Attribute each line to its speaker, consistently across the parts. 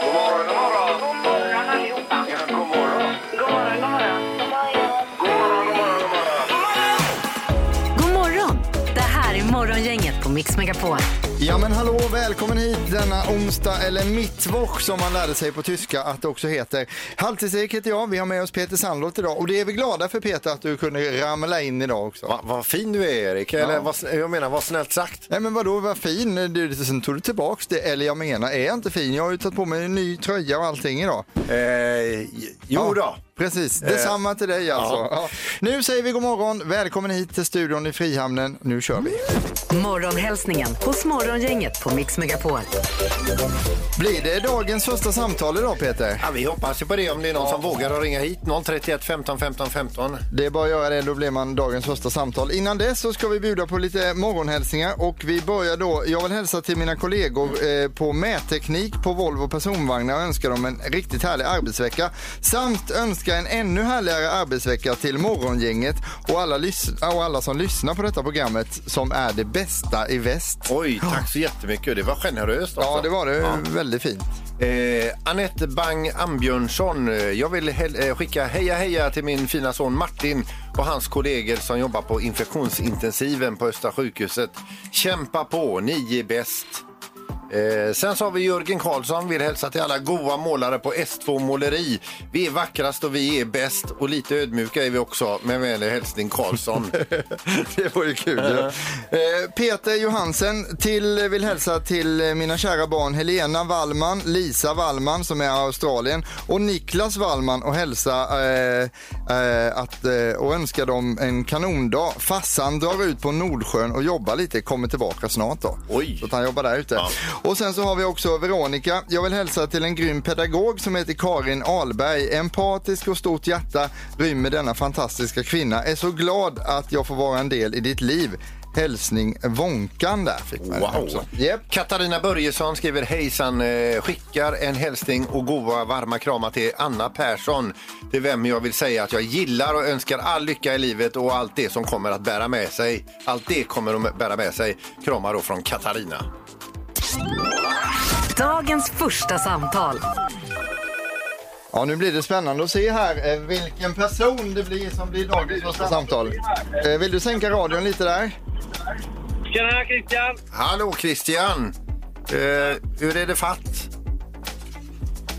Speaker 1: God morgon, god morgon. God morgon,
Speaker 2: allihopa.
Speaker 1: Ja, god morgon.
Speaker 2: God morgon, god morgon.
Speaker 1: God morgon, god morgon, god morgon.
Speaker 3: God morgon! Det här är Morgongänget på Mix Megapol.
Speaker 4: Ja men hallå, välkommen hit denna onsdag eller mittwoch som man lärde sig på tyska att det också heter. Halvtids-Erik heter jag, vi har med oss Peter Sandlott idag och det är vi glada för Peter att du kunde ramla in idag också.
Speaker 5: Va, vad fin du är Erik, eller vad, jag menar vad snällt sagt.
Speaker 4: Nej men vadå, vad fin, du, sen tog du tillbaks det, eller jag menar, är jag inte fin? Jag har ju tagit på mig en ny tröja och allting idag.
Speaker 5: Eh, jo då. Eh.
Speaker 4: Precis, detsamma till dig alltså. Ja.
Speaker 5: ja.
Speaker 4: Nu säger vi god morgon, välkommen hit till studion i Frihamnen, nu kör vi.
Speaker 3: Morgonhälsningen hos Morgongänget på Mix Megapol.
Speaker 4: Blir det dagens första samtal idag Peter?
Speaker 5: Ja, vi hoppas ju på det om det är någon som vågar att ringa hit 031 15 15 15.
Speaker 4: Det är bara att göra det, då blir man dagens första samtal. Innan dess så ska vi bjuda på lite morgonhälsningar och vi börjar då. Jag vill hälsa till mina kollegor eh, på Mätteknik på Volvo Personvagnar och önska dem en riktigt härlig arbetsvecka. Samt önska en ännu härligare arbetsvecka till Morgongänget och alla, lys- och alla som lyssnar på detta programmet som är det bästa i väst.
Speaker 5: Oj, tack så jättemycket. Det var generöst alltså. också.
Speaker 4: Ja, det var det. Väldigt fint.
Speaker 5: Eh, Anette Bang Ambjörnsson, eh, jag vill hel- eh, skicka heja heja till min fina son Martin och hans kollegor som jobbar på infektionsintensiven på Östra sjukhuset. Kämpa på, ni är bäst. Eh, sen så har vi Jörgen Karlsson, vill hälsa till alla goa målare på S2 Måleri. Vi är vackrast och vi är bäst och lite ödmjuka är vi också. Med vänlig hälsning Karlsson.
Speaker 4: Det var ju kul. ju. Eh, Peter Johansen till, vill hälsa till eh, mina kära barn Helena Wallman, Lisa Wallman som är i Australien och Niklas Wallman och hälsa eh, eh, att, eh, och önska dem en kanondag. Fassan drar ut på Nordsjön och jobbar lite, kommer tillbaka snart då.
Speaker 5: Oj.
Speaker 4: Så att han jobbar där ute. Och sen så har vi också Veronica. Jag vill hälsa till en grym pedagog som heter Karin Ahlberg. Empatisk och stort hjärta rymmer denna fantastiska kvinna. Är så glad att jag får vara en del i ditt liv. Hälsning Vånkan där fick man den
Speaker 5: Wow!
Speaker 4: också. Yep.
Speaker 5: Katarina Börjesson skriver hejsan, eh, skickar en hälsning och goa varma kramar till Anna Persson. Till vem jag vill säga att jag gillar och önskar all lycka i livet och allt det som kommer att bära med sig. Allt det kommer att bära med sig. Kramar då från Katarina.
Speaker 3: Dagens första samtal.
Speaker 4: Ja, nu blir det spännande att se här eh, vilken person det blir som blir dagens första samtal. Eh, Vill du sänka radion lite där?
Speaker 6: Tjena Christian!
Speaker 5: Hallå Christian! Eh, hur är det fatt?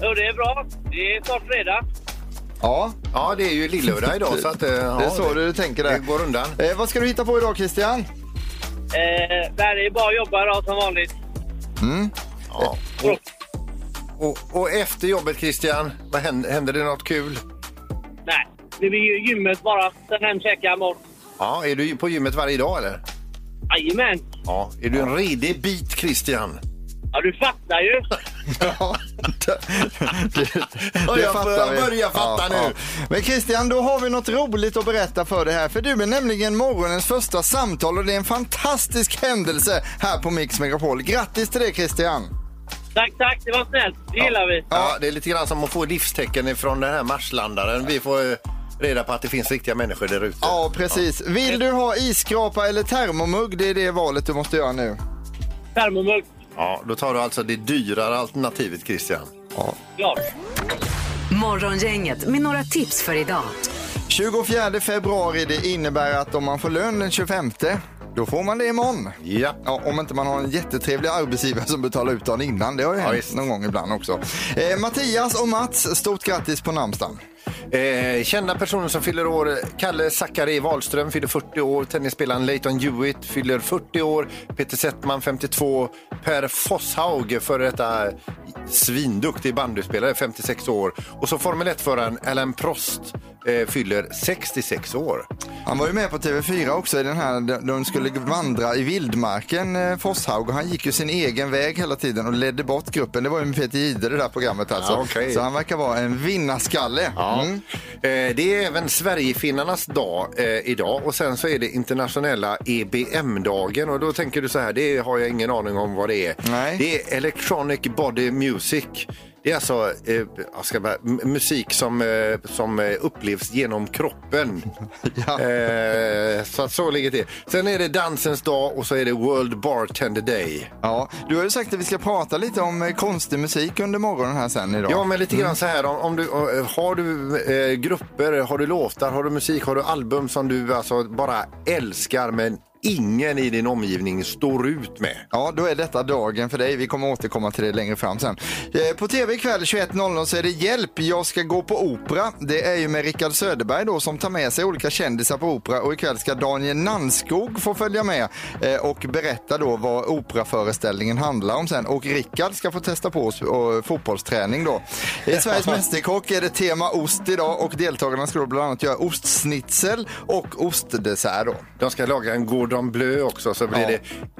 Speaker 6: Jo, det är bra. Det är snart fredag.
Speaker 4: Ja,
Speaker 5: Ja, det är ju lillördag idag så att... Eh, ja,
Speaker 4: det är så du tänker
Speaker 5: det
Speaker 4: där.
Speaker 5: går undan.
Speaker 4: Eh, Vad ska du hitta på idag Christian?
Speaker 6: Eh, nej, det är bara att jobba idag som vanligt.
Speaker 5: Ja. Och, och, och efter jobbet Christian, vad händer, händer det något kul?
Speaker 6: Nej, det blir ju gymmet bara. Sen hem käka imorgon.
Speaker 5: Ja, är du på gymmet varje dag eller?
Speaker 6: Jajamän!
Speaker 5: Ja, är du en redig bit Christian?
Speaker 6: Ja, du fattar ju.
Speaker 4: Ja, det, det, det
Speaker 5: jag
Speaker 4: fattar
Speaker 5: börjar-
Speaker 4: vi.
Speaker 5: börjar fatta nu.
Speaker 4: Men Christian, då har vi något roligt att berätta för dig här. För du är nämligen morgonens första samtal och det är en fantastisk händelse här på Mix Megapol. Grattis till det Christian!
Speaker 6: Tack, tack. Det var snällt. Det gillar vi.
Speaker 5: Ja, det är lite grann som att få livstecken ifrån den här marslandaren. Vi får eh, reda på att det finns riktiga människor där ute.
Speaker 4: Ja, precis. Vill du ha isskrapa eller termomugg? Det är det valet du måste göra nu.
Speaker 6: Termomugg.
Speaker 5: Ja, då tar du alltså det dyrare alternativet Christian.
Speaker 6: Klart.
Speaker 3: Morgongänget med några tips för idag.
Speaker 4: 24 februari, det innebär att om man får lön den 25, då får man det imorgon.
Speaker 5: Ja.
Speaker 4: Ja, om inte man har en jättetrevlig arbetsgivare som betalar ut dagen innan. Det har ju hänt
Speaker 5: visst.
Speaker 4: någon gång ibland också. Eh, Mattias och Mats, stort grattis på namnsdagen.
Speaker 5: Eh, kända personer som fyller år. Kalle Zackari Wahlström fyller 40 år. Tennisspelaren Leighton Hewitt fyller 40 år. Peter Settman 52. Per Fosshaug, före detta svinduktig bandyspelare, 56 år. Och så Formel 1-föraren Alain Prost eh, fyller 66 år.
Speaker 4: Han var ju med på TV4 också i den här, de- de skulle vandra i vildmarken, eh, Forshaug, och han gick ju sin egen väg hela tiden och ledde bort gruppen. Det var ju med Peter Jihde det där programmet alltså.
Speaker 5: Ja, okej.
Speaker 4: Så han verkar vara en vinnarskalle. Mm.
Speaker 5: Eh, Det är även Sverigefinnarnas dag eh, idag och sen så är det internationella EBM-dagen och då tänker du så här, det har jag ingen aning om vad det är.
Speaker 4: Nej.
Speaker 5: Det är Electronic Body Music. Det är alltså eh, jag ska bara, m- musik som, eh, som eh, upplevs genom kroppen.
Speaker 4: Ja.
Speaker 5: eh, så att så ligger det till. Sen är det dansens dag och så är det World Bartender Day.
Speaker 4: Ja, du har ju sagt att vi ska prata lite om eh, konstig musik under morgonen här sen idag.
Speaker 5: Ja, men lite
Speaker 4: Mm.
Speaker 5: grann så här. Om, om du, eh, har du eh, grupper, har du låtar, har du musik, har du album som du alltså bara älskar men ingen i din omgivning står ut med?
Speaker 4: Ja, då är detta dagen för dig. Vi kommer återkomma till det längre fram sen. Eh, På tv ikväll 21.00 så är det Hjälp, jag ska gå på opera. Det är ju med Rickard Söderberg då som tar med sig olika kändisar på opera och ikväll ska Daniel Nanskog få följa med eh, och berätta då vad operaföreställningen handlar om sen. Och Rickard ska få testa på oss och eh, fotbollsträning då. I Sveriges Mästerkock är det tema ost idag och deltagarna ska då bland annat göra ostsnitzel och ostdessert då.
Speaker 5: De ska laga en Gordon Bleu också så blir
Speaker 4: Ja.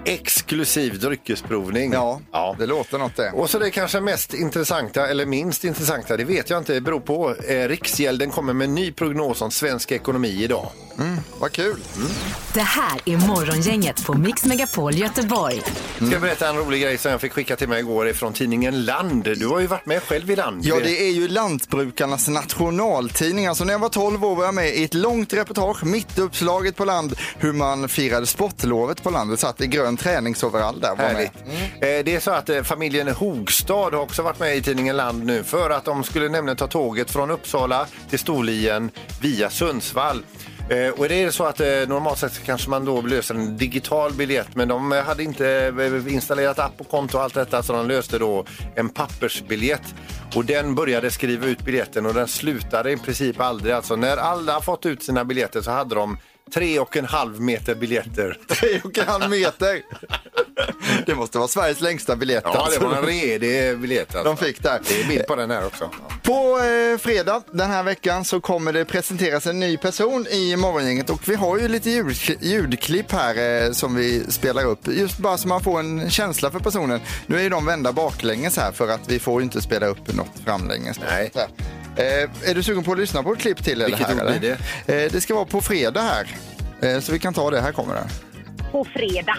Speaker 5: det exklusiv dryckesprovning.
Speaker 4: Ja, det låter något det.
Speaker 5: Och så det kanske mest intressanta, eller minst intressanta, det vet jag inte, det beror på. Eh, Riksgälden kommer med en ny prognos om svensk ekonomi idag.
Speaker 4: Vad kul!
Speaker 3: Det här är Morgongänget på Mix Megapol Göteborg.
Speaker 5: Ska jag berätta en rolig grej som jag fick skicka till mig igår från tidningen Land. Du har ju varit med själv i Land.
Speaker 4: Ja, det är ju lantbrukarnas nationaltidning. Alltså när jag var 12 år var jag med i ett långt reportage, mitt uppslaget på land, hur man firade sportlovet på landet. Satt i grön träningsoverall där. Var med.
Speaker 5: Härligt. Eh, Det är så att eh, familjen Hogstad har också varit med i tidningen Land nu för att de skulle nämligen ta tåget från Uppsala till Storlien via Sundsvall. Eh, Och det är så att eh, normalt sett kanske man då löser en digital biljett men de eh, hade inte eh, installerat app och konto och allt detta så de löste då en pappersbiljett. Och den började skriva ut biljetten och den slutade i princip aldrig. Alltså när alla fått ut sina biljetter så hade de tre och en halv meter biljetter.
Speaker 4: Tre och en halv meter. Det måste vara Sveriges längsta biljett.
Speaker 5: Ja, det
Speaker 4: alltså.
Speaker 5: var en redig biljett. Alltså.
Speaker 4: De fick där.
Speaker 5: Det är bild på den här också.
Speaker 4: På eh, fredag den här veckan så kommer det presenteras en ny person i Morgongänget och vi har ju lite ljud, ljudklipp här eh, som vi spelar upp. Just bara så man får en känsla för personen. Nu är ju de vända baklänges här för att vi får ju inte spela upp något framlänges.
Speaker 5: Nej.
Speaker 4: Så här. Eh, är du sugen på att lyssna på ett klipp till? Eller
Speaker 5: Vilket
Speaker 4: här,
Speaker 5: ord
Speaker 4: eller?
Speaker 5: blir
Speaker 4: det? Eh, det ska vara på fredag här. Eh, så vi kan ta det. Här kommer det.
Speaker 2: på fredag.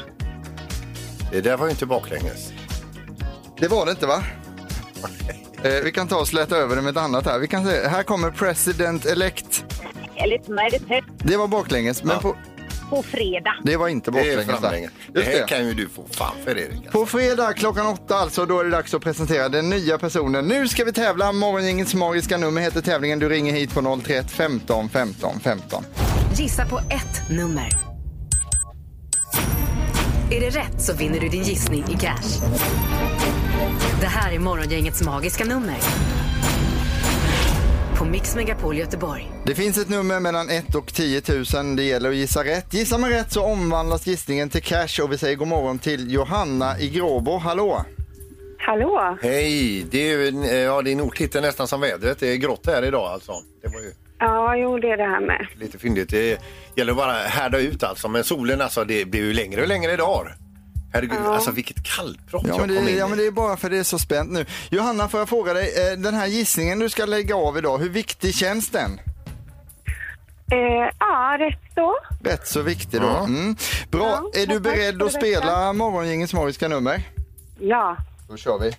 Speaker 5: Det där var ju inte baklänges.
Speaker 4: Det var det inte va? Eh, vi kan ta och släta över det med ett annat här. Vi kan se, här kommer President Elect.
Speaker 2: Eller nej, det är
Speaker 4: Det var baklänges, men
Speaker 5: Ja.
Speaker 4: på,
Speaker 2: på fredag.
Speaker 4: Det var inte
Speaker 5: Det är
Speaker 4: baklänges.
Speaker 5: framlänges. Det
Speaker 4: Just
Speaker 5: här
Speaker 4: det.
Speaker 5: kan ju du få fan för Erik. alltså.
Speaker 4: På fredag klockan åtta alltså, då är det dags att presentera den nya personen. Nu ska vi tävla. Morgongängets magiska nummer heter tävlingen. Du ringer hit på 031 15 15 15.
Speaker 3: Gissa på ett nummer. Är det rätt så vinner du din gissning i cash. Det här är Morgongängets magiska nummer. På Mix Megapol Göteborg.
Speaker 4: Det finns ett nummer mellan 1 och 10 000. Det gäller att gissa rätt. Gissar man rätt så omvandlas gissningen till cash och vi säger god morgon till Johanna i Gråbo. Hallå!
Speaker 7: Hallå!
Speaker 5: Hej! Det är ju en- eh, ja, din ordtitel är nästan som vädret. Det är grått här idag alltså. Det var ju
Speaker 7: Ja, jo, det är det här med.
Speaker 5: lite fyndigt. Det gäller bara att härda ut alltså. Men solen alltså, det blir ju längre och längre idag. Herregud, alltså vilket kallprat
Speaker 4: Ja
Speaker 5: jag
Speaker 4: men,
Speaker 5: kom
Speaker 4: det,
Speaker 5: in
Speaker 4: ja
Speaker 5: i.
Speaker 4: men det är bara för det är så spänt nu. Johanna får jag fråga dig, eh, den här gissningen du ska lägga av idag, hur viktig känns den?
Speaker 7: Eh, ja, rätt så.
Speaker 4: Rätt så viktig då.
Speaker 5: Ja.
Speaker 4: Mm. Bra,
Speaker 7: Ja,
Speaker 4: är du
Speaker 7: tack
Speaker 4: beredd
Speaker 7: för
Speaker 4: att
Speaker 7: det.
Speaker 4: spela Morgongängets magiska nummer?
Speaker 7: Ja.
Speaker 4: Då kör vi.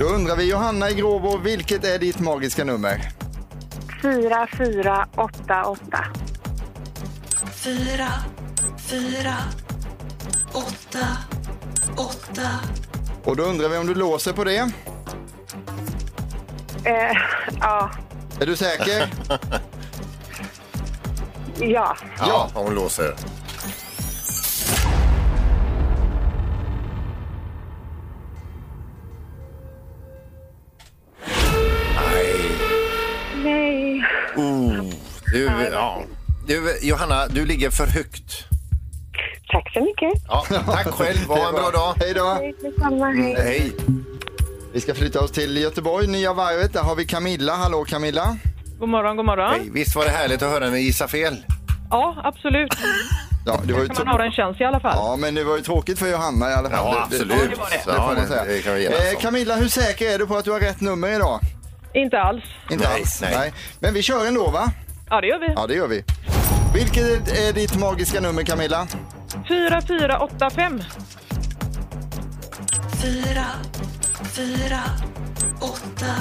Speaker 4: Då undrar vi Johanna i Gråbo, vilket är ditt magiska nummer?
Speaker 7: 4, 4, 8, 8.
Speaker 8: fyra, fyra, åtta, åtta.
Speaker 4: Och då undrar vi om du låser på det.
Speaker 7: Eh, ja.
Speaker 4: Är du säker?
Speaker 7: Ja.
Speaker 5: Ja, hon låser. Nej.
Speaker 7: Nej.
Speaker 5: Oh, du, ja. du, Johanna, du ligger för högt.
Speaker 7: Tack så mycket.
Speaker 5: Ja, tack själv,
Speaker 4: Det
Speaker 5: ha
Speaker 4: är
Speaker 5: en bra dag.
Speaker 4: Hej då.
Speaker 7: Hej, detsamma. Hej.
Speaker 5: Hej.
Speaker 4: Vi ska flytta oss till Göteborg, Nya varvet. Där har vi Camilla. Hallå Camilla.
Speaker 9: God morgon, god morgon.
Speaker 5: Hej. Visst var det härligt att höra henne gissa fel?
Speaker 9: Ja, absolut.
Speaker 4: Ja, det var ju
Speaker 9: Kan man ha en chans i alla fall.
Speaker 4: Ja, men det var ju tråkigt för Johanna i alla fall.
Speaker 5: Ja,
Speaker 4: Det- det-
Speaker 5: absolut.
Speaker 4: Det,
Speaker 5: Ja, det
Speaker 4: det
Speaker 5: var det.
Speaker 4: får man
Speaker 5: Ja, det- det kan vi
Speaker 4: säga.
Speaker 5: enas om.
Speaker 4: eh, Camilla, hur säker är du på att du har rätt nummer idag?
Speaker 9: Inte alls.
Speaker 4: Inte
Speaker 5: Nej,
Speaker 4: alls.
Speaker 5: nej.
Speaker 4: Men vi kör ändå va?
Speaker 9: Ja, det gör vi.
Speaker 4: Ja, det gör vi. Vilket är ditt magiska nummer Camilla?
Speaker 9: 4, 4, 8, 5.
Speaker 8: Fyra, fyra, åtta,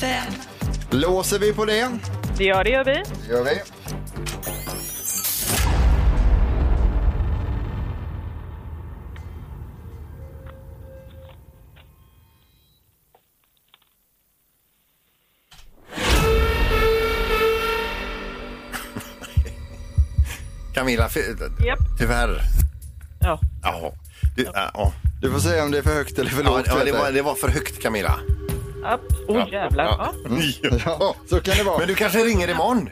Speaker 8: fem,
Speaker 4: Låser vi på det?
Speaker 9: Det gör det, gör vi.
Speaker 4: Det gör vi.
Speaker 5: Camilla, för,
Speaker 9: Japp.
Speaker 5: tyvärr.
Speaker 9: Ja.
Speaker 5: Ja. Du, ja. ja.
Speaker 4: Du får säga om det är för högt eller för
Speaker 5: Ja,
Speaker 4: lågt.
Speaker 5: ja, det,
Speaker 4: Peter.
Speaker 5: var, det var för högt, Camilla.
Speaker 9: App. Oh, jävlar. Ja.
Speaker 4: Ja, så kan det vara.
Speaker 5: Men du kanske ringer imorgon?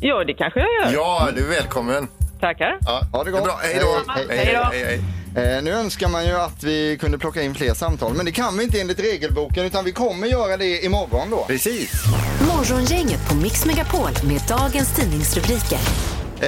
Speaker 9: ja, det kanske jag gör.
Speaker 5: Ja, du är välkommen.
Speaker 9: Tackar.
Speaker 5: Ja.
Speaker 4: Ha det gott.
Speaker 5: Bra, hej då.
Speaker 4: Hej,
Speaker 9: hej. Hej då.
Speaker 5: hej.
Speaker 4: Eh, nu önskar man ju att vi kunde plocka in fler samtal, men det kan vi inte enligt regelboken utan vi kommer göra det imorgon då.
Speaker 5: Precis.
Speaker 3: Morgongänget på Mix Megapol med dagens tidningsrubriker.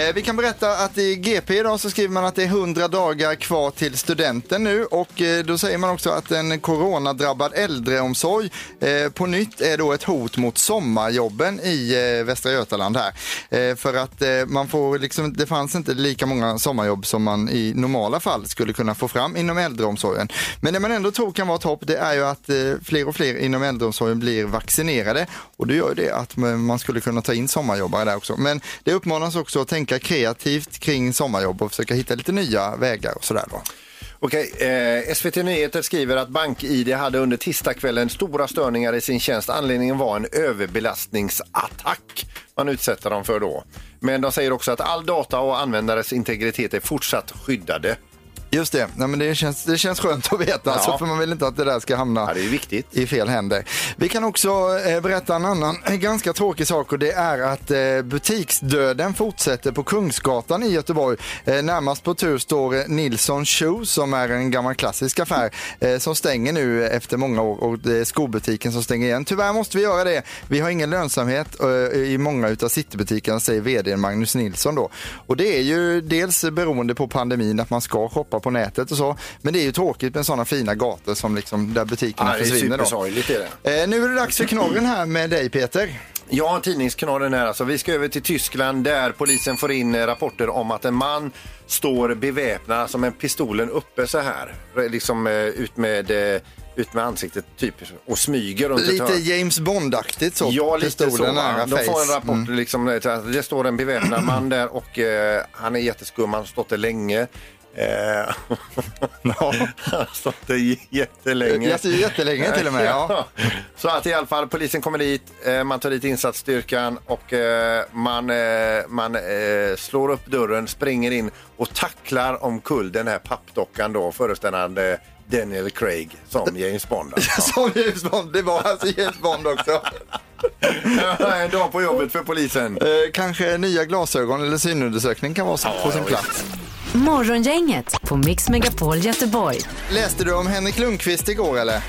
Speaker 4: Eh, vi kan berätta att i GP idag så skriver man att det är 100 dagar kvar till studenten nu och eh, då säger man också att en coronadrabbad äldreomsorg eh, på nytt är då ett hot mot sommarjobben i eh, Västra Götaland här. Eh, för att eh, man får liksom, det fanns inte lika många sommarjobb som man i normala fall skulle kunna få fram inom äldreomsorgen. Men det man ändå tror kan vara ett hopp det är ju att eh, fler och fler inom äldreomsorgen blir vaccinerade och det gör ju det att man man skulle kunna ta in sommarjobbare där också. Men det uppmanas också att tänka kreativt kring sommarjobb och försöka hitta lite nya vägar och sådär då.
Speaker 5: Okej, eh, SVT Nyheter skriver att BankID hade under tisdagskvällen stora störningar i sin tjänst. Anledningen var en överbelastningsattack man utsätter dem för då. Men de säger också att all data och användares integritet är fortsatt skyddade.
Speaker 4: Just det, Nej, men det, känns, det känns skönt att veta
Speaker 5: Ja.
Speaker 4: alltså, för man vill inte att det där ska hamna
Speaker 5: Ja, det är ju viktigt.
Speaker 4: i fel händer. Vi kan också eh, berätta en annan ganska tråkig sak och det är att eh, butiksdöden fortsätter på Kungsgatan i Göteborg. Eh, närmast på tur står eh, Nilsson Shoes som är en gammal klassisk affär eh, som stänger nu efter många år och det är skobutiken som stänger igen. Tyvärr måste vi göra det. Vi har ingen lönsamhet eh, i många utav citybutikerna säger vd Magnus Nilsson då. Och det är ju dels beroende på pandemin att man ska shoppa på nätet och så. Men det är ju tråkigt med sådana fina gator som liksom där butikerna
Speaker 5: Ja, det är
Speaker 4: försvinner då.
Speaker 5: supersorgligt, är det.
Speaker 4: Eh, nu är det dags för knorren här med dig Peter.
Speaker 5: Jag har tidningsknorren här. Alltså, vi ska över till Tyskland där polisen får in eh, rapporter om att en man står beväpnad, alltså med pistolen uppe så här. Liksom eh, ut med, eh, ut med ansiktet typ och smyger runt ett
Speaker 4: Lite
Speaker 5: hörn.
Speaker 4: James Bond-aktigt så.
Speaker 5: Ja, lite så.
Speaker 4: Pistolen
Speaker 5: va?
Speaker 4: nära
Speaker 5: De får en
Speaker 4: face. Mm.
Speaker 5: rapport. Liksom, att det står en beväpnad man där och eh, han är jätteskum. Han har stått där länge. Eh, han har stått där jättelänge.
Speaker 4: Jätte- jättelänge till och med, ja.
Speaker 5: Så att i alla fall, polisen kommer dit, eh, man tar dit insatsstyrkan och eh, man, eh, man eh, slår upp dörren, springer in och tacklar omkull den här pappdockan då, föreställande Daniel Craig som James Bond. alltså.
Speaker 4: Som James Bond, det var alltså James Bond också.
Speaker 5: en dag på jobbet för polisen.
Speaker 4: Eh, kanske nya glasögon eller synundersökning kan vara så på sin
Speaker 5: ja,
Speaker 4: plats.
Speaker 3: Morgongänget på Mix Megapol Göteborg.
Speaker 4: Läste du om Henrik Lundqvist igår eller?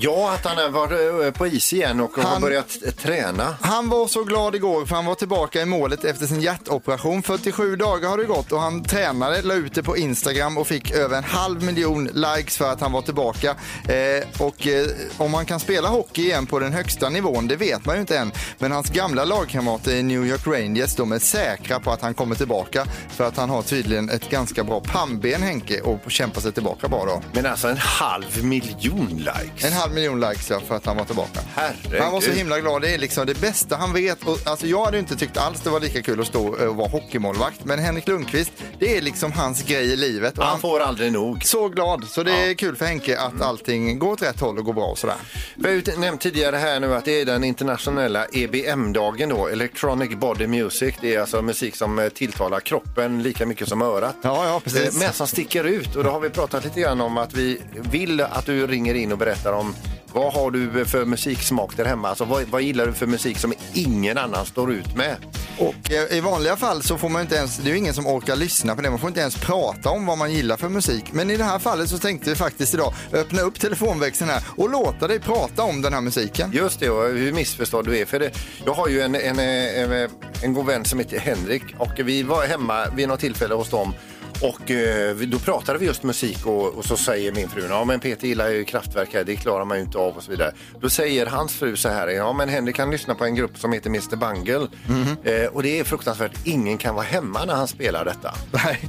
Speaker 5: Ja, att han har varit eh, på is igen och har
Speaker 4: Han-
Speaker 5: börjat eh, träna.
Speaker 4: Han var så glad igår för han var tillbaka i målet efter sin hjärtoperation. 47 dagar har det gått och han tränade, la ut det på Instagram och fick över en halv miljon likes för att han var tillbaka. Eh, och eh, om han kan spela hockey igen på den högsta nivån, det vet man ju inte än. Men hans gamla lagkamrater i New York Rangers, de är säkra på att han kommer tillbaka för att han har tydligen ett ganska bra pannben Henke och kämpar sig tillbaka bra då.
Speaker 5: Men alltså en halv miljon likes.
Speaker 4: En halv miljon likes ja, för att han var tillbaka.
Speaker 5: Herregud.
Speaker 4: Han var så himla glad. Det är liksom det bästa han vet. Och, alltså, jag hade inte tyckt alls det var lika kul att stå eh, och vara hockeymålvakt. Men Henrik Lundqvist, det är liksom hans grej i livet. Och
Speaker 5: Han får Mm. aldrig nog.
Speaker 4: är så glad. Så det är kul för Henke att allting går åt rätt håll och går bra och sådär.
Speaker 5: Vi har ju nämnt tidigare här nu att det är den internationella EBM-dagen då, Electronic Body Music. Det är alltså musik som eh, tilltalar kroppen lika mycket som örat.
Speaker 4: Ja, ja, precis.
Speaker 5: Eh, Men som sticker ut och då har vi pratat lite grann om att vi vill att du ringer in och berättar om vad har du för musiksmak där hemma? Alltså vad, vad gillar du för musik som ingen annan står ut med?
Speaker 4: Och eh, i vanliga fall så får man ju inte ens, det är ju ingen som orkar lyssna på det, man får inte ens prata om vad man gillar för musik. Men i det här fallet så tänkte vi faktiskt idag öppna upp telefonväxeln här och låta dig prata om den här musiken.
Speaker 5: Just det, och hur missförstådd du är. För det, jag har ju en, en, eh, en, eh, en god vän som heter Henrik och vi var hemma vid något tillfälle hos dem Och eh, vi- då pratade vi just musik och, och så säger min fru, ja men Peter gillar ju kraftverk här, det klarar man ju inte av och så vidare. Då säger hans fru så här, ja men Henrik kan lyssna på en grupp som heter Mr Bungle eh, och det är fruktansvärt, ingen kan vara hemma när han spelar detta.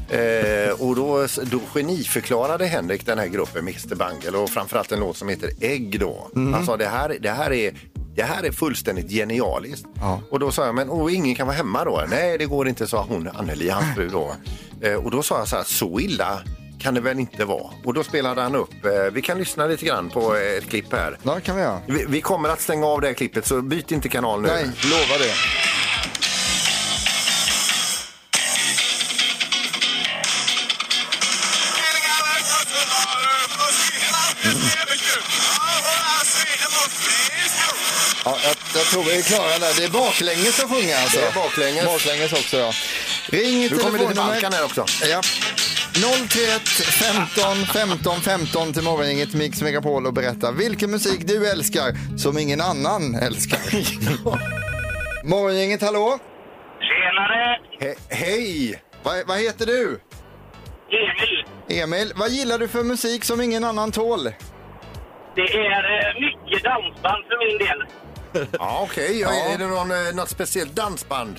Speaker 5: Eh, och då, då geniförklarade Henrik den här gruppen Mr Bungle och framförallt en låt som heter Ägg då.
Speaker 4: Mhm.
Speaker 5: Han sa det här, det här är det här är fullständigt genialiskt.
Speaker 4: Ja.
Speaker 5: Och då sa jag, men åh, ingen kan vara hemma då? Nej, det går inte, sa hon, Anneli, hans fru då. Eh, och då sa jag så här, så illa kan det väl inte vara? Och då spelade han upp, eh, vi kan lyssna lite grann på eh, ett klipp här.
Speaker 4: Ja, det kan vi göra.
Speaker 5: Vi, vi kommer att stänga av det här klippet, så byt inte kanal nu.
Speaker 4: Nej, lova det. Ja, jag, jag tror vi är klara där. Det är baklänges som sjunger alltså.
Speaker 5: Det är baklänges.
Speaker 4: Baklänges också ja. Ring
Speaker 5: Nu kommer lite
Speaker 4: telefonnummer-
Speaker 5: Balkan här också.
Speaker 4: Ja. 031 15 15 15 till morgongänget Mix Megapol och berätta vilken musik du älskar som ingen annan älskar. morgongänget, hallå?
Speaker 6: Tjenare!
Speaker 5: He- hej!
Speaker 4: Vad vad heter du?
Speaker 6: Emil!
Speaker 4: Emil, vad gillar du för musik som ingen annan tål?
Speaker 6: Det är eh, mycket dansband för min del.
Speaker 5: Ja, okej.
Speaker 4: Ja.
Speaker 5: Är det någon, eh, något speciellt dansband?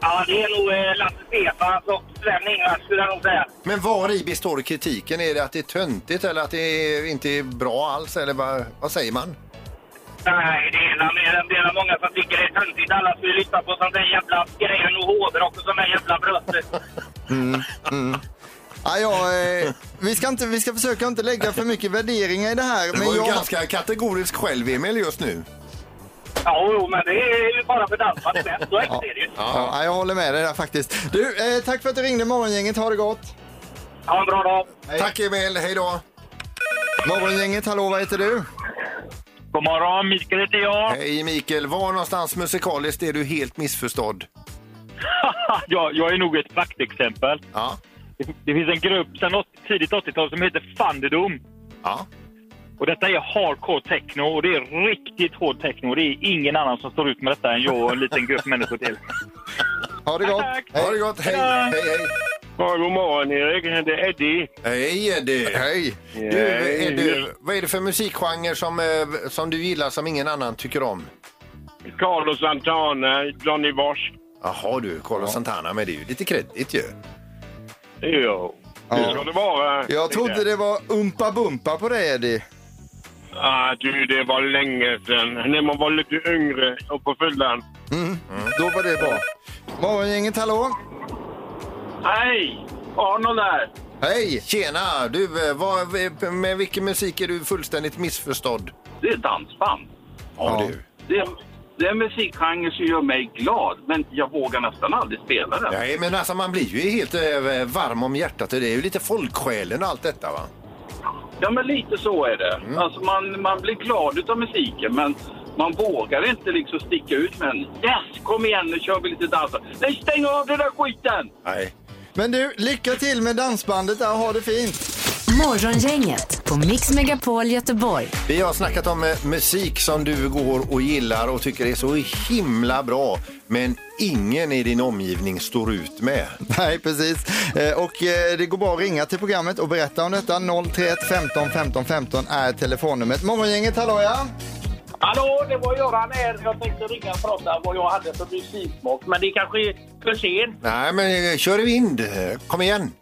Speaker 6: Ja, det är nog eh, Lasse Stefans och Sven-Ingvars skulle jag nog säga.
Speaker 5: Men var i består kritiken? Är det att det är töntigt eller att det är inte är bra alls? Eller vad, vad säger man?
Speaker 6: Nej, det är nog mer en del av många som tycker det är töntigt. Alla skulle lyssna på sånt där jävla gren och hårdrock och sån där jävla bröstet.
Speaker 4: Ah, ja, eh, vi, ska inte, vi ska försöka inte lägga för mycket värderingar i det här.
Speaker 5: Du var ju ganska kategorisk själv, Emil, just nu.
Speaker 6: Ja, jo, men det är ju bara för dansband men Så
Speaker 4: Ja.
Speaker 6: enkelt är det ju.
Speaker 4: Ja, jag håller med dig där faktiskt. Du, eh, tack för att du ringde morgongänget. Ha det gott.
Speaker 6: Ha en bra dag!
Speaker 4: Hej.
Speaker 5: Tack Emil, hej då!
Speaker 4: Morgongänget, hallå, vad heter du?
Speaker 6: God morgon, Mikael heter jag.
Speaker 5: Hej Mikael, var någonstans musikaliskt är du helt missförstådd?
Speaker 6: jag. Jag är nog ett praktexempel.
Speaker 5: Ja,
Speaker 6: Det- Det finns en grupp sedan 80, tidigt 80-tal som heter Thunderdom.
Speaker 5: ja,
Speaker 6: Och detta är hardcore techno och det är riktigt hård techno. Det är ingen annan som står ut med detta än jag och en liten grupp människor till.
Speaker 4: Ha det gott.
Speaker 6: Tack.
Speaker 5: ha det gott, hej, hej, hej!
Speaker 6: Ja, god morgon Erik, det är Eddie.
Speaker 5: Hej Eddie!
Speaker 4: Hej.
Speaker 5: Du, är du, vad är det för musikgenre som, eh, som du gillar som ingen annan tycker om?
Speaker 6: Carlos Santana, Johnny Bosch.
Speaker 5: Jaha du, Carlos Santana, men det är ju lite kreddigt ju.
Speaker 6: Jo,
Speaker 4: Ja.
Speaker 6: det eh? ska det vara.
Speaker 4: Jag trodde det var Umpa Bumpa på dig, Eddie.
Speaker 6: Ah, du, det var länge sedan. När man var lite yngre och på fyllan.
Speaker 4: Mm. Då var det bra. Morgongänget, hallå.
Speaker 6: Hej! Arnold här.
Speaker 4: Hej.
Speaker 5: Tjena! Du, eh, vad, med vilken musik är du fullständigt missförstådd?
Speaker 6: Det är dansband.
Speaker 5: Ja, du.
Speaker 6: Det är, det är en musikgenre som gör mig glad, men jag vågar nästan aldrig spela den.
Speaker 5: Nej, men alltså man blir ju helt eh, varm om hjärtat och det är ju lite folksjälen och allt detta va?
Speaker 6: Ja, men lite så är det. Alltså man, man blir glad utav musiken, men man vågar inte liksom sticka ut med den. Yes, kom igen nu kör vi lite dans. Nej, stäng av den där skiten!
Speaker 5: Nej.
Speaker 4: Men du, lycka till med dansbandet där. Ha det fint.
Speaker 3: Morgongänget på Mix Megapol Göteborg.
Speaker 5: Vi har snackat om eh, musik som du går och gillar och tycker är så himla bra men ingen i din omgivning står ut med.
Speaker 4: Nej, precis. Eh, Och eh, det går bra att ringa till programmet och berätta om detta. 031 15 15 15 är telefonnumret. Morgongänget, hallå ja.
Speaker 6: Hallå, det var Göran här. Jag tänkte ringa och prata vad jag hade för musiksmak, men det kanske är för sent.
Speaker 5: Nej, men eh, kör i vind. Eh, Kom igen.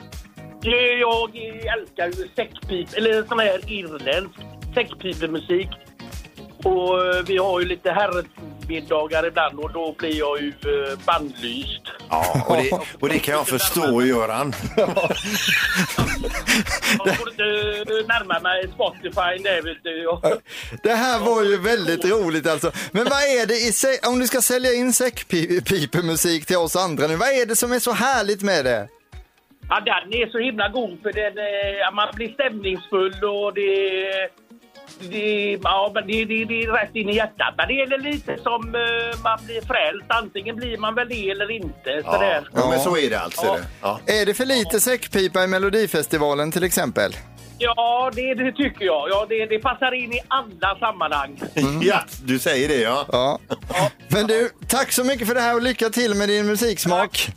Speaker 6: Eh, Jag älskar ju säckpip, eller sån här irländsk säckpipemusik. Och eh, vi har ju lite herrmiddagar ibland och då blir jag ju eh, bandlyst.
Speaker 5: Ja, och det, och det kan jag förstå, Göran.
Speaker 6: Jag får inte eh, närma mig Spotify där vet du. Jag-
Speaker 4: Det här var ju väldigt roligt alltså. Men vad är det i sig, om du ska sälja in säckpipemusik till oss andra nu, vad är det som är så härligt med det?
Speaker 6: Ja, den är så himla god för den, eh, man blir stämningsfull och det... Det, ja, men det, det, det är rätt in i hjärtat. Men det är lite som eh, man blir frälst. Antingen blir man väl det eller inte.
Speaker 5: Ja,
Speaker 6: Sådär.
Speaker 5: ja men så är det alltså. är det. Ja.
Speaker 4: Är det för lite säckpipa i Melodifestivalen till exempel?
Speaker 6: Ja, det, det tycker jag. Ja, det, det passar in i alla sammanhang.
Speaker 5: ja, du säger det ja.
Speaker 4: Ja. Men du, tack så mycket för det här och lycka till med din musiksmak.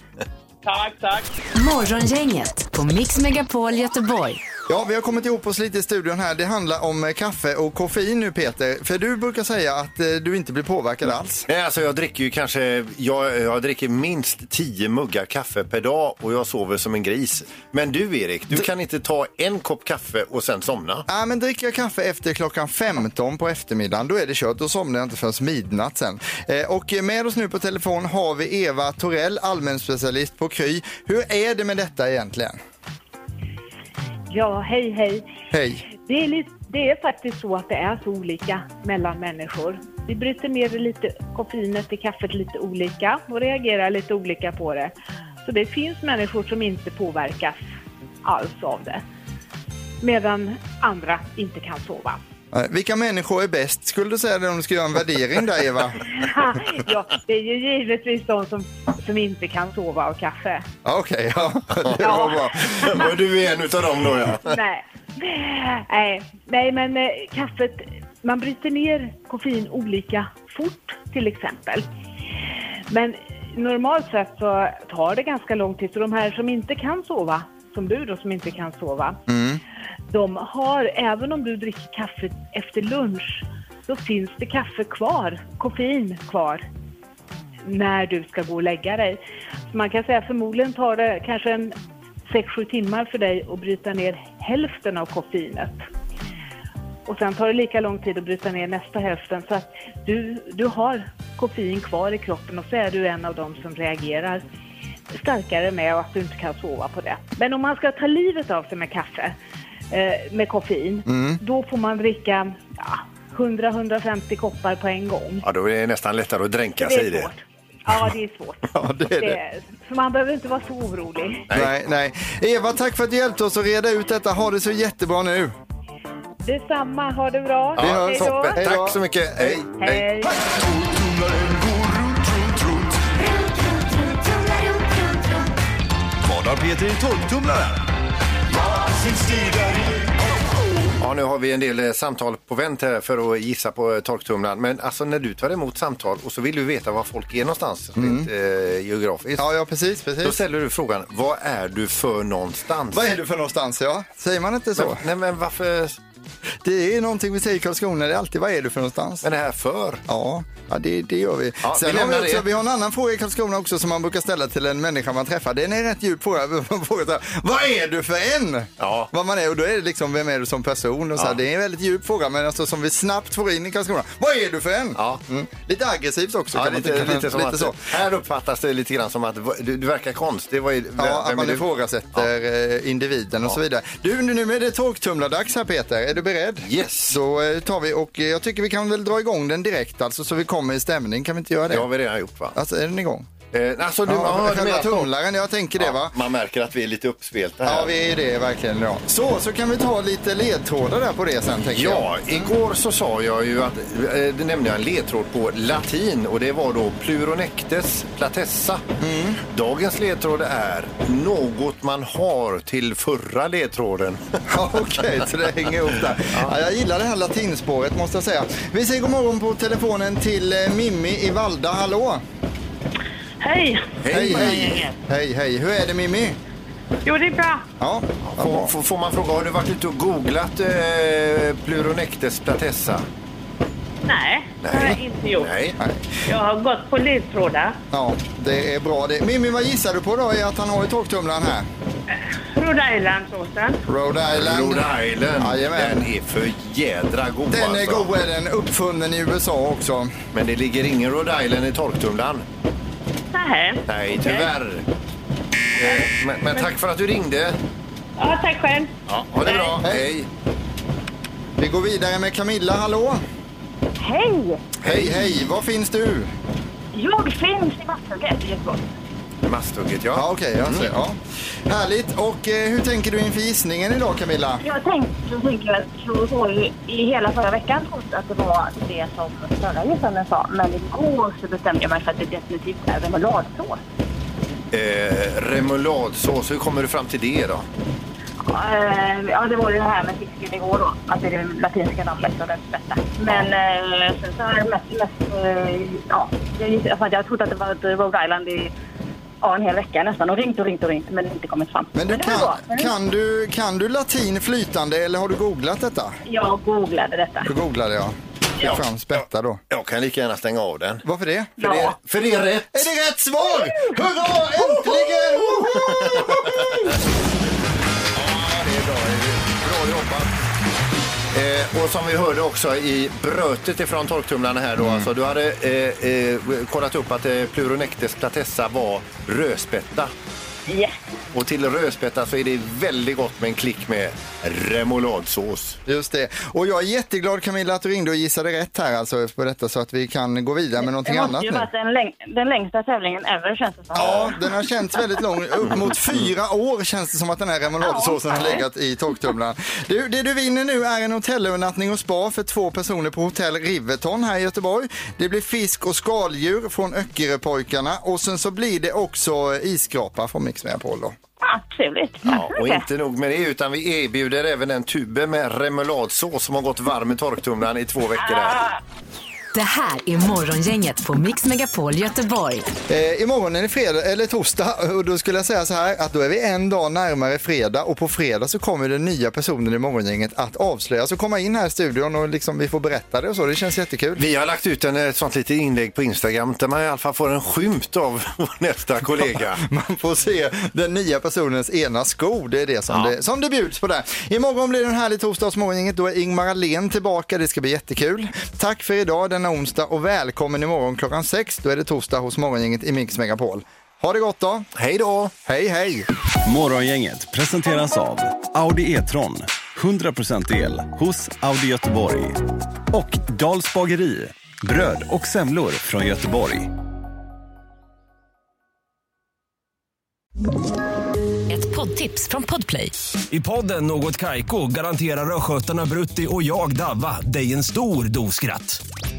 Speaker 6: Tack, tack.
Speaker 3: Morgongänget på Mix Megapol Göteborg.
Speaker 4: Ja, vi har kommit ihop oss lite i studion här. Det handlar om eh, kaffe och koffein nu Peter. För du brukar säga att eh, du inte blir påverkad alls.
Speaker 5: Nej, alltså jag dricker ju kanske, jag, jag dricker minst 10 muggar kaffe per dag och jag sover som en gris. Men du Erik, du kan inte ta en kopp kaffe och sen somna.
Speaker 4: Ja, men dricker jag kaffe efter klockan 15 på eftermiddagen, då är det kört. Då somnar jag inte förrän midnatt sen. Eh, och med oss nu på telefon har vi Eva Torell, allmänspecialist på Kry. Hur är det med detta egentligen?
Speaker 10: Ja, hej hej.
Speaker 4: Hej.
Speaker 10: Det är, lite, det är faktiskt så att det är så olika mellan människor. Vi bryter ner lite koffeinet i kaffet lite olika och reagerar lite olika på det. Så det finns människor som inte påverkas alls av det. Medan andra inte kan sova.
Speaker 4: Eh, vilka människor är bäst? Skulle du säga det om du ska göra en värdering där Eva?
Speaker 10: ja, det är ju givetvis de som, som inte kan sova av kaffe.
Speaker 4: Ja, Okej, ja. Det var bra.
Speaker 5: Men du är en utav dem då ja.
Speaker 10: Nej. Nej, nej men eh, kaffet, man bryter ner koffein olika fort till exempel. Men normalt sett så tar det ganska lång tid, så de här som inte kan sova, som du då som inte kan sova, de har, även om du dricker kaffe efter lunch, då finns det kaffe kvar, koffein kvar när du ska gå och lägga dig. Så man kan säga förmodligen tar det kanske en 6-7 timmar för dig att bryta ner hälften av koffeinet. Och sen tar det lika lång tid att bryta ner nästa hälften så att du, du har koffein kvar i kroppen och så är du en av dem som reagerar starkare med att du inte kan sova på det. Men om man ska ta livet av sig med kaffe, eh, med koffein, då får man dricka ja, 100-150 koppar på en gång.
Speaker 5: Ja, då är det nästan lättare att dränka sig i det.
Speaker 10: svårt. Ja, det är svårt.
Speaker 4: Ja, det är det.
Speaker 10: Eh, Så man behöver inte vara så orolig.
Speaker 4: Nej, nej. Eva, tack för att du hjälpte oss att reda ut detta. Ha det så jättebra nu.
Speaker 10: Detsamma, ha det bra.
Speaker 4: Vi
Speaker 5: Ja,
Speaker 4: hörs.
Speaker 10: Hej då.
Speaker 5: toppen.
Speaker 4: Hej då.
Speaker 5: Tack så mycket. Hej.
Speaker 10: Hej.
Speaker 11: Vad har Peter i tolvtumlaren?
Speaker 5: Ja, nu har vi en del eh, samtal på vänt här för att gissa på eh, torktumlaren. Men alltså när du tar emot samtal och så vill du veta var folk är någonstans
Speaker 4: Mm.
Speaker 5: rent eh, geografiskt.
Speaker 4: Ja, ja, precis,
Speaker 5: Då
Speaker 4: precis.
Speaker 5: ställer du frågan, vad är du för någonstans?
Speaker 4: Vad är du för någonstans? Ja, säger man inte så?
Speaker 5: Men, nej men varför,
Speaker 4: Det är någonting vi säger i Karlskrona, det är alltid vad är du för någonstans?
Speaker 5: vad är det här för?
Speaker 4: Ja, ja det, det gör vi.
Speaker 5: Ja,
Speaker 4: Sen
Speaker 5: vi
Speaker 4: vi, har vi,
Speaker 5: lämnar
Speaker 4: också,
Speaker 5: det.
Speaker 4: vi har en annan fråga i Karlskrona också som man brukar ställa till en människa man träffar. Den är rätt djup fråga. Man frågar så här, vad är du för en?
Speaker 5: Ja.
Speaker 4: Vad man är och då är det liksom, vem är du som person? Och så här, Det är en väldigt djup fråga men alltså, som vi snabbt får in i Karlskrona. Vad är du för en?
Speaker 5: Ja.
Speaker 4: Mm. Lite aggressivt också
Speaker 5: Ja,
Speaker 4: kan
Speaker 5: lite,
Speaker 4: man tycka.
Speaker 5: lite, som
Speaker 4: lite
Speaker 5: att,
Speaker 4: så.
Speaker 5: Här uppfattas det lite grann som att va- du, du verkar konstig. Vad är, vem-
Speaker 4: Ja,
Speaker 5: vem
Speaker 4: att
Speaker 5: är
Speaker 4: man
Speaker 5: du?
Speaker 4: ifrågasätter eh, individen och så vidare. Du, nu nu är det torktumlardags här Peter. Är du beredd?
Speaker 5: Yes.
Speaker 4: Då eh, tar vi och eh, jag tycker vi kan väl dra igång den direkt alltså så vi kommer i stämning. Kan vi inte göra det?
Speaker 5: Det har vi redan gjort va?
Speaker 4: Alltså är den igång?
Speaker 5: Eh, alltså du, ja,
Speaker 4: ja,
Speaker 5: du menar
Speaker 4: själva tumlaren, jag tänker det va?
Speaker 5: Ja, man märker att vi är lite uppspelta här.
Speaker 4: Ja, vi är ju det verkligen idag. Så, så kan vi ta lite ledtrådar där på det sen tänker jag.
Speaker 5: Ja, igår så sa jag ju att, eh, det nämnde jag en ledtråd på latin och det var då pluronectes platessa. Dagens ledtråd är något man har till förra ledtråden.
Speaker 4: Ja, Okej, så det hänger ihop där. Ja, jag gillar det här latinspåret måste jag säga. Vi säger god morgon på telefonen till eh, Mimmi i Valda. Hallå!
Speaker 10: Hej!
Speaker 4: Hej, hej! Hej, hej! Hur är det Mimmi?
Speaker 10: Jo, det är bra.
Speaker 4: Ja, vad
Speaker 5: Får,
Speaker 4: bra.
Speaker 5: får- får man fråga, har du varit ute och googlat eh, pluronectes platessa?
Speaker 10: Nej, det har jag inte gjort.
Speaker 5: Nej.
Speaker 10: Jag har gått på ledtrådar.
Speaker 4: Ja, det är bra det. Mimmi, vad gissar du på då? Är att han har i torktumlaren här?
Speaker 10: Rhode Islandsåsen.
Speaker 4: Rhode Island.
Speaker 5: Rhode Island,
Speaker 4: Jajamän.
Speaker 5: den är för jädra god
Speaker 4: Den är
Speaker 5: alltså.
Speaker 4: god är den, uppfunnen i USA också.
Speaker 5: Men det ligger ingen Rhode Island i torktumlaren.
Speaker 10: Nähä.
Speaker 5: Nej, tyvärr. Eh, Men, men tack för att du ringde.
Speaker 10: Ja, tack själv.
Speaker 5: Ja, ha det bra.
Speaker 4: Hej.
Speaker 5: Hej.
Speaker 4: Vi går vidare med Camilla, hallå!
Speaker 10: Hej!
Speaker 4: Hej, hej! Var finns du?
Speaker 10: Jag finns i Masthugget i Göteborg.
Speaker 5: Masthugget, ja.
Speaker 4: Ja, okej. jag ser. ja. Härligt. Och eh, hur tänker du inför gissningen idag, Camilla?
Speaker 10: Jag tänkte, jag tänker att Trelleborg i hela förra veckan trodde att det var det som förra gästen sa. Men igår så bestämde jag mig för att det definitivt är remouladsås.
Speaker 5: Eh, remouladsås, hur kommer du fram till det då?
Speaker 10: Eh, Ja, det var ju det här med fisken igår då. Att det är det latinska namnet och det bästa. Men eh, sen så har jag mest... mest eh, ja, jag, gissar- alltså, jag trodde att det var ett Rhode Island i
Speaker 12: ja, en hel vecka nästan och ringt och ringt och ringt men inte kommit fram.
Speaker 4: Men du
Speaker 12: det Mm. var bra.
Speaker 4: kan, kan, du, kan du latin flytande eller har du googlat detta?
Speaker 12: Jag googlade detta.
Speaker 4: Du googlade ja. Ja. Fram spätta då.
Speaker 5: Jag kan lika gärna stänga av den.
Speaker 4: Varför det?
Speaker 5: För, det, för det är rätt.
Speaker 4: Är det rätt svar? Hurra! Äntligen!
Speaker 5: Bra jobbat. Eh, och som vi hörde också i brötet ifrån torktumlarna här då,
Speaker 4: Mm.
Speaker 5: alltså, du hade eh, eh, kollat upp att eh, Pleuronectes platessa var rödspätta.
Speaker 12: Yes.
Speaker 5: Och till rödspätta så är det väldigt gott med en klick med remouladsås.
Speaker 4: Just det. Och jag är jätteglad Camilla att du ringde och gissade rätt här alltså på detta så att vi kan gå vidare med någonting
Speaker 12: Det måste
Speaker 4: annat
Speaker 12: ju
Speaker 4: nu.
Speaker 12: varit den, läng- den längsta tävlingen ever känns det som.
Speaker 4: Ja, den har känts väldigt lång. Upp mot fyra år känns det som att den här remouladsåsen har legat i torktumlaren. Du, det du vinner nu är en hotellövernattning och spa för två personer på hotell Riverton här i Göteborg. Det blir fisk och skaldjur från Öckeröpojkarna och sen så blir det också isskrapa från Mix Megapol då.
Speaker 12: Ja, trevligt.
Speaker 5: Ja, och inte nog med det, utan vi erbjuder även en tube med remouladsås som har gått varm i torktumlaren i två veckor.
Speaker 4: Ah.
Speaker 5: Här.
Speaker 3: Det här är Morgongänget på Mix Megapol Göteborg.
Speaker 4: Eh, imorgon är det fredag, eller torsdag och då skulle jag säga så här att då är vi en dag närmare fredag och på fredag så kommer den nya personen i morgongänget att avslöjas och komma in här i studion och liksom vi får berätta det och så. Det känns jättekul.
Speaker 5: Vi har lagt ut en, ett sånt litet inlägg på Instagram där man i alla fall får en skymt av vår nästa kollega.
Speaker 4: Man får se den nya personens ena sko. Det är det som, det, som det bjuds på där. Imorgon blir det en härlig torsdag hos morgongänget. Då är Ingmar Ahlén tillbaka. Det ska bli jättekul. Tack för idag denna onsdag och välkommen imorgon klockan sex. Då är det torsdag hos morgongänget i Mix Megapol. Ha det gott då!
Speaker 5: Hej då!
Speaker 4: Hej hej!
Speaker 11: Morgongänget presenteras av Audi E-tron. 100% el hos Audi Göteborg. Och Dals bageri. Bröd och semlor från Göteborg.
Speaker 13: Ett poddtips från Podplay.
Speaker 14: I podden Något Kaiko garanterar östgötarna Brutti och jag, Davva, dig en stor dos skratt.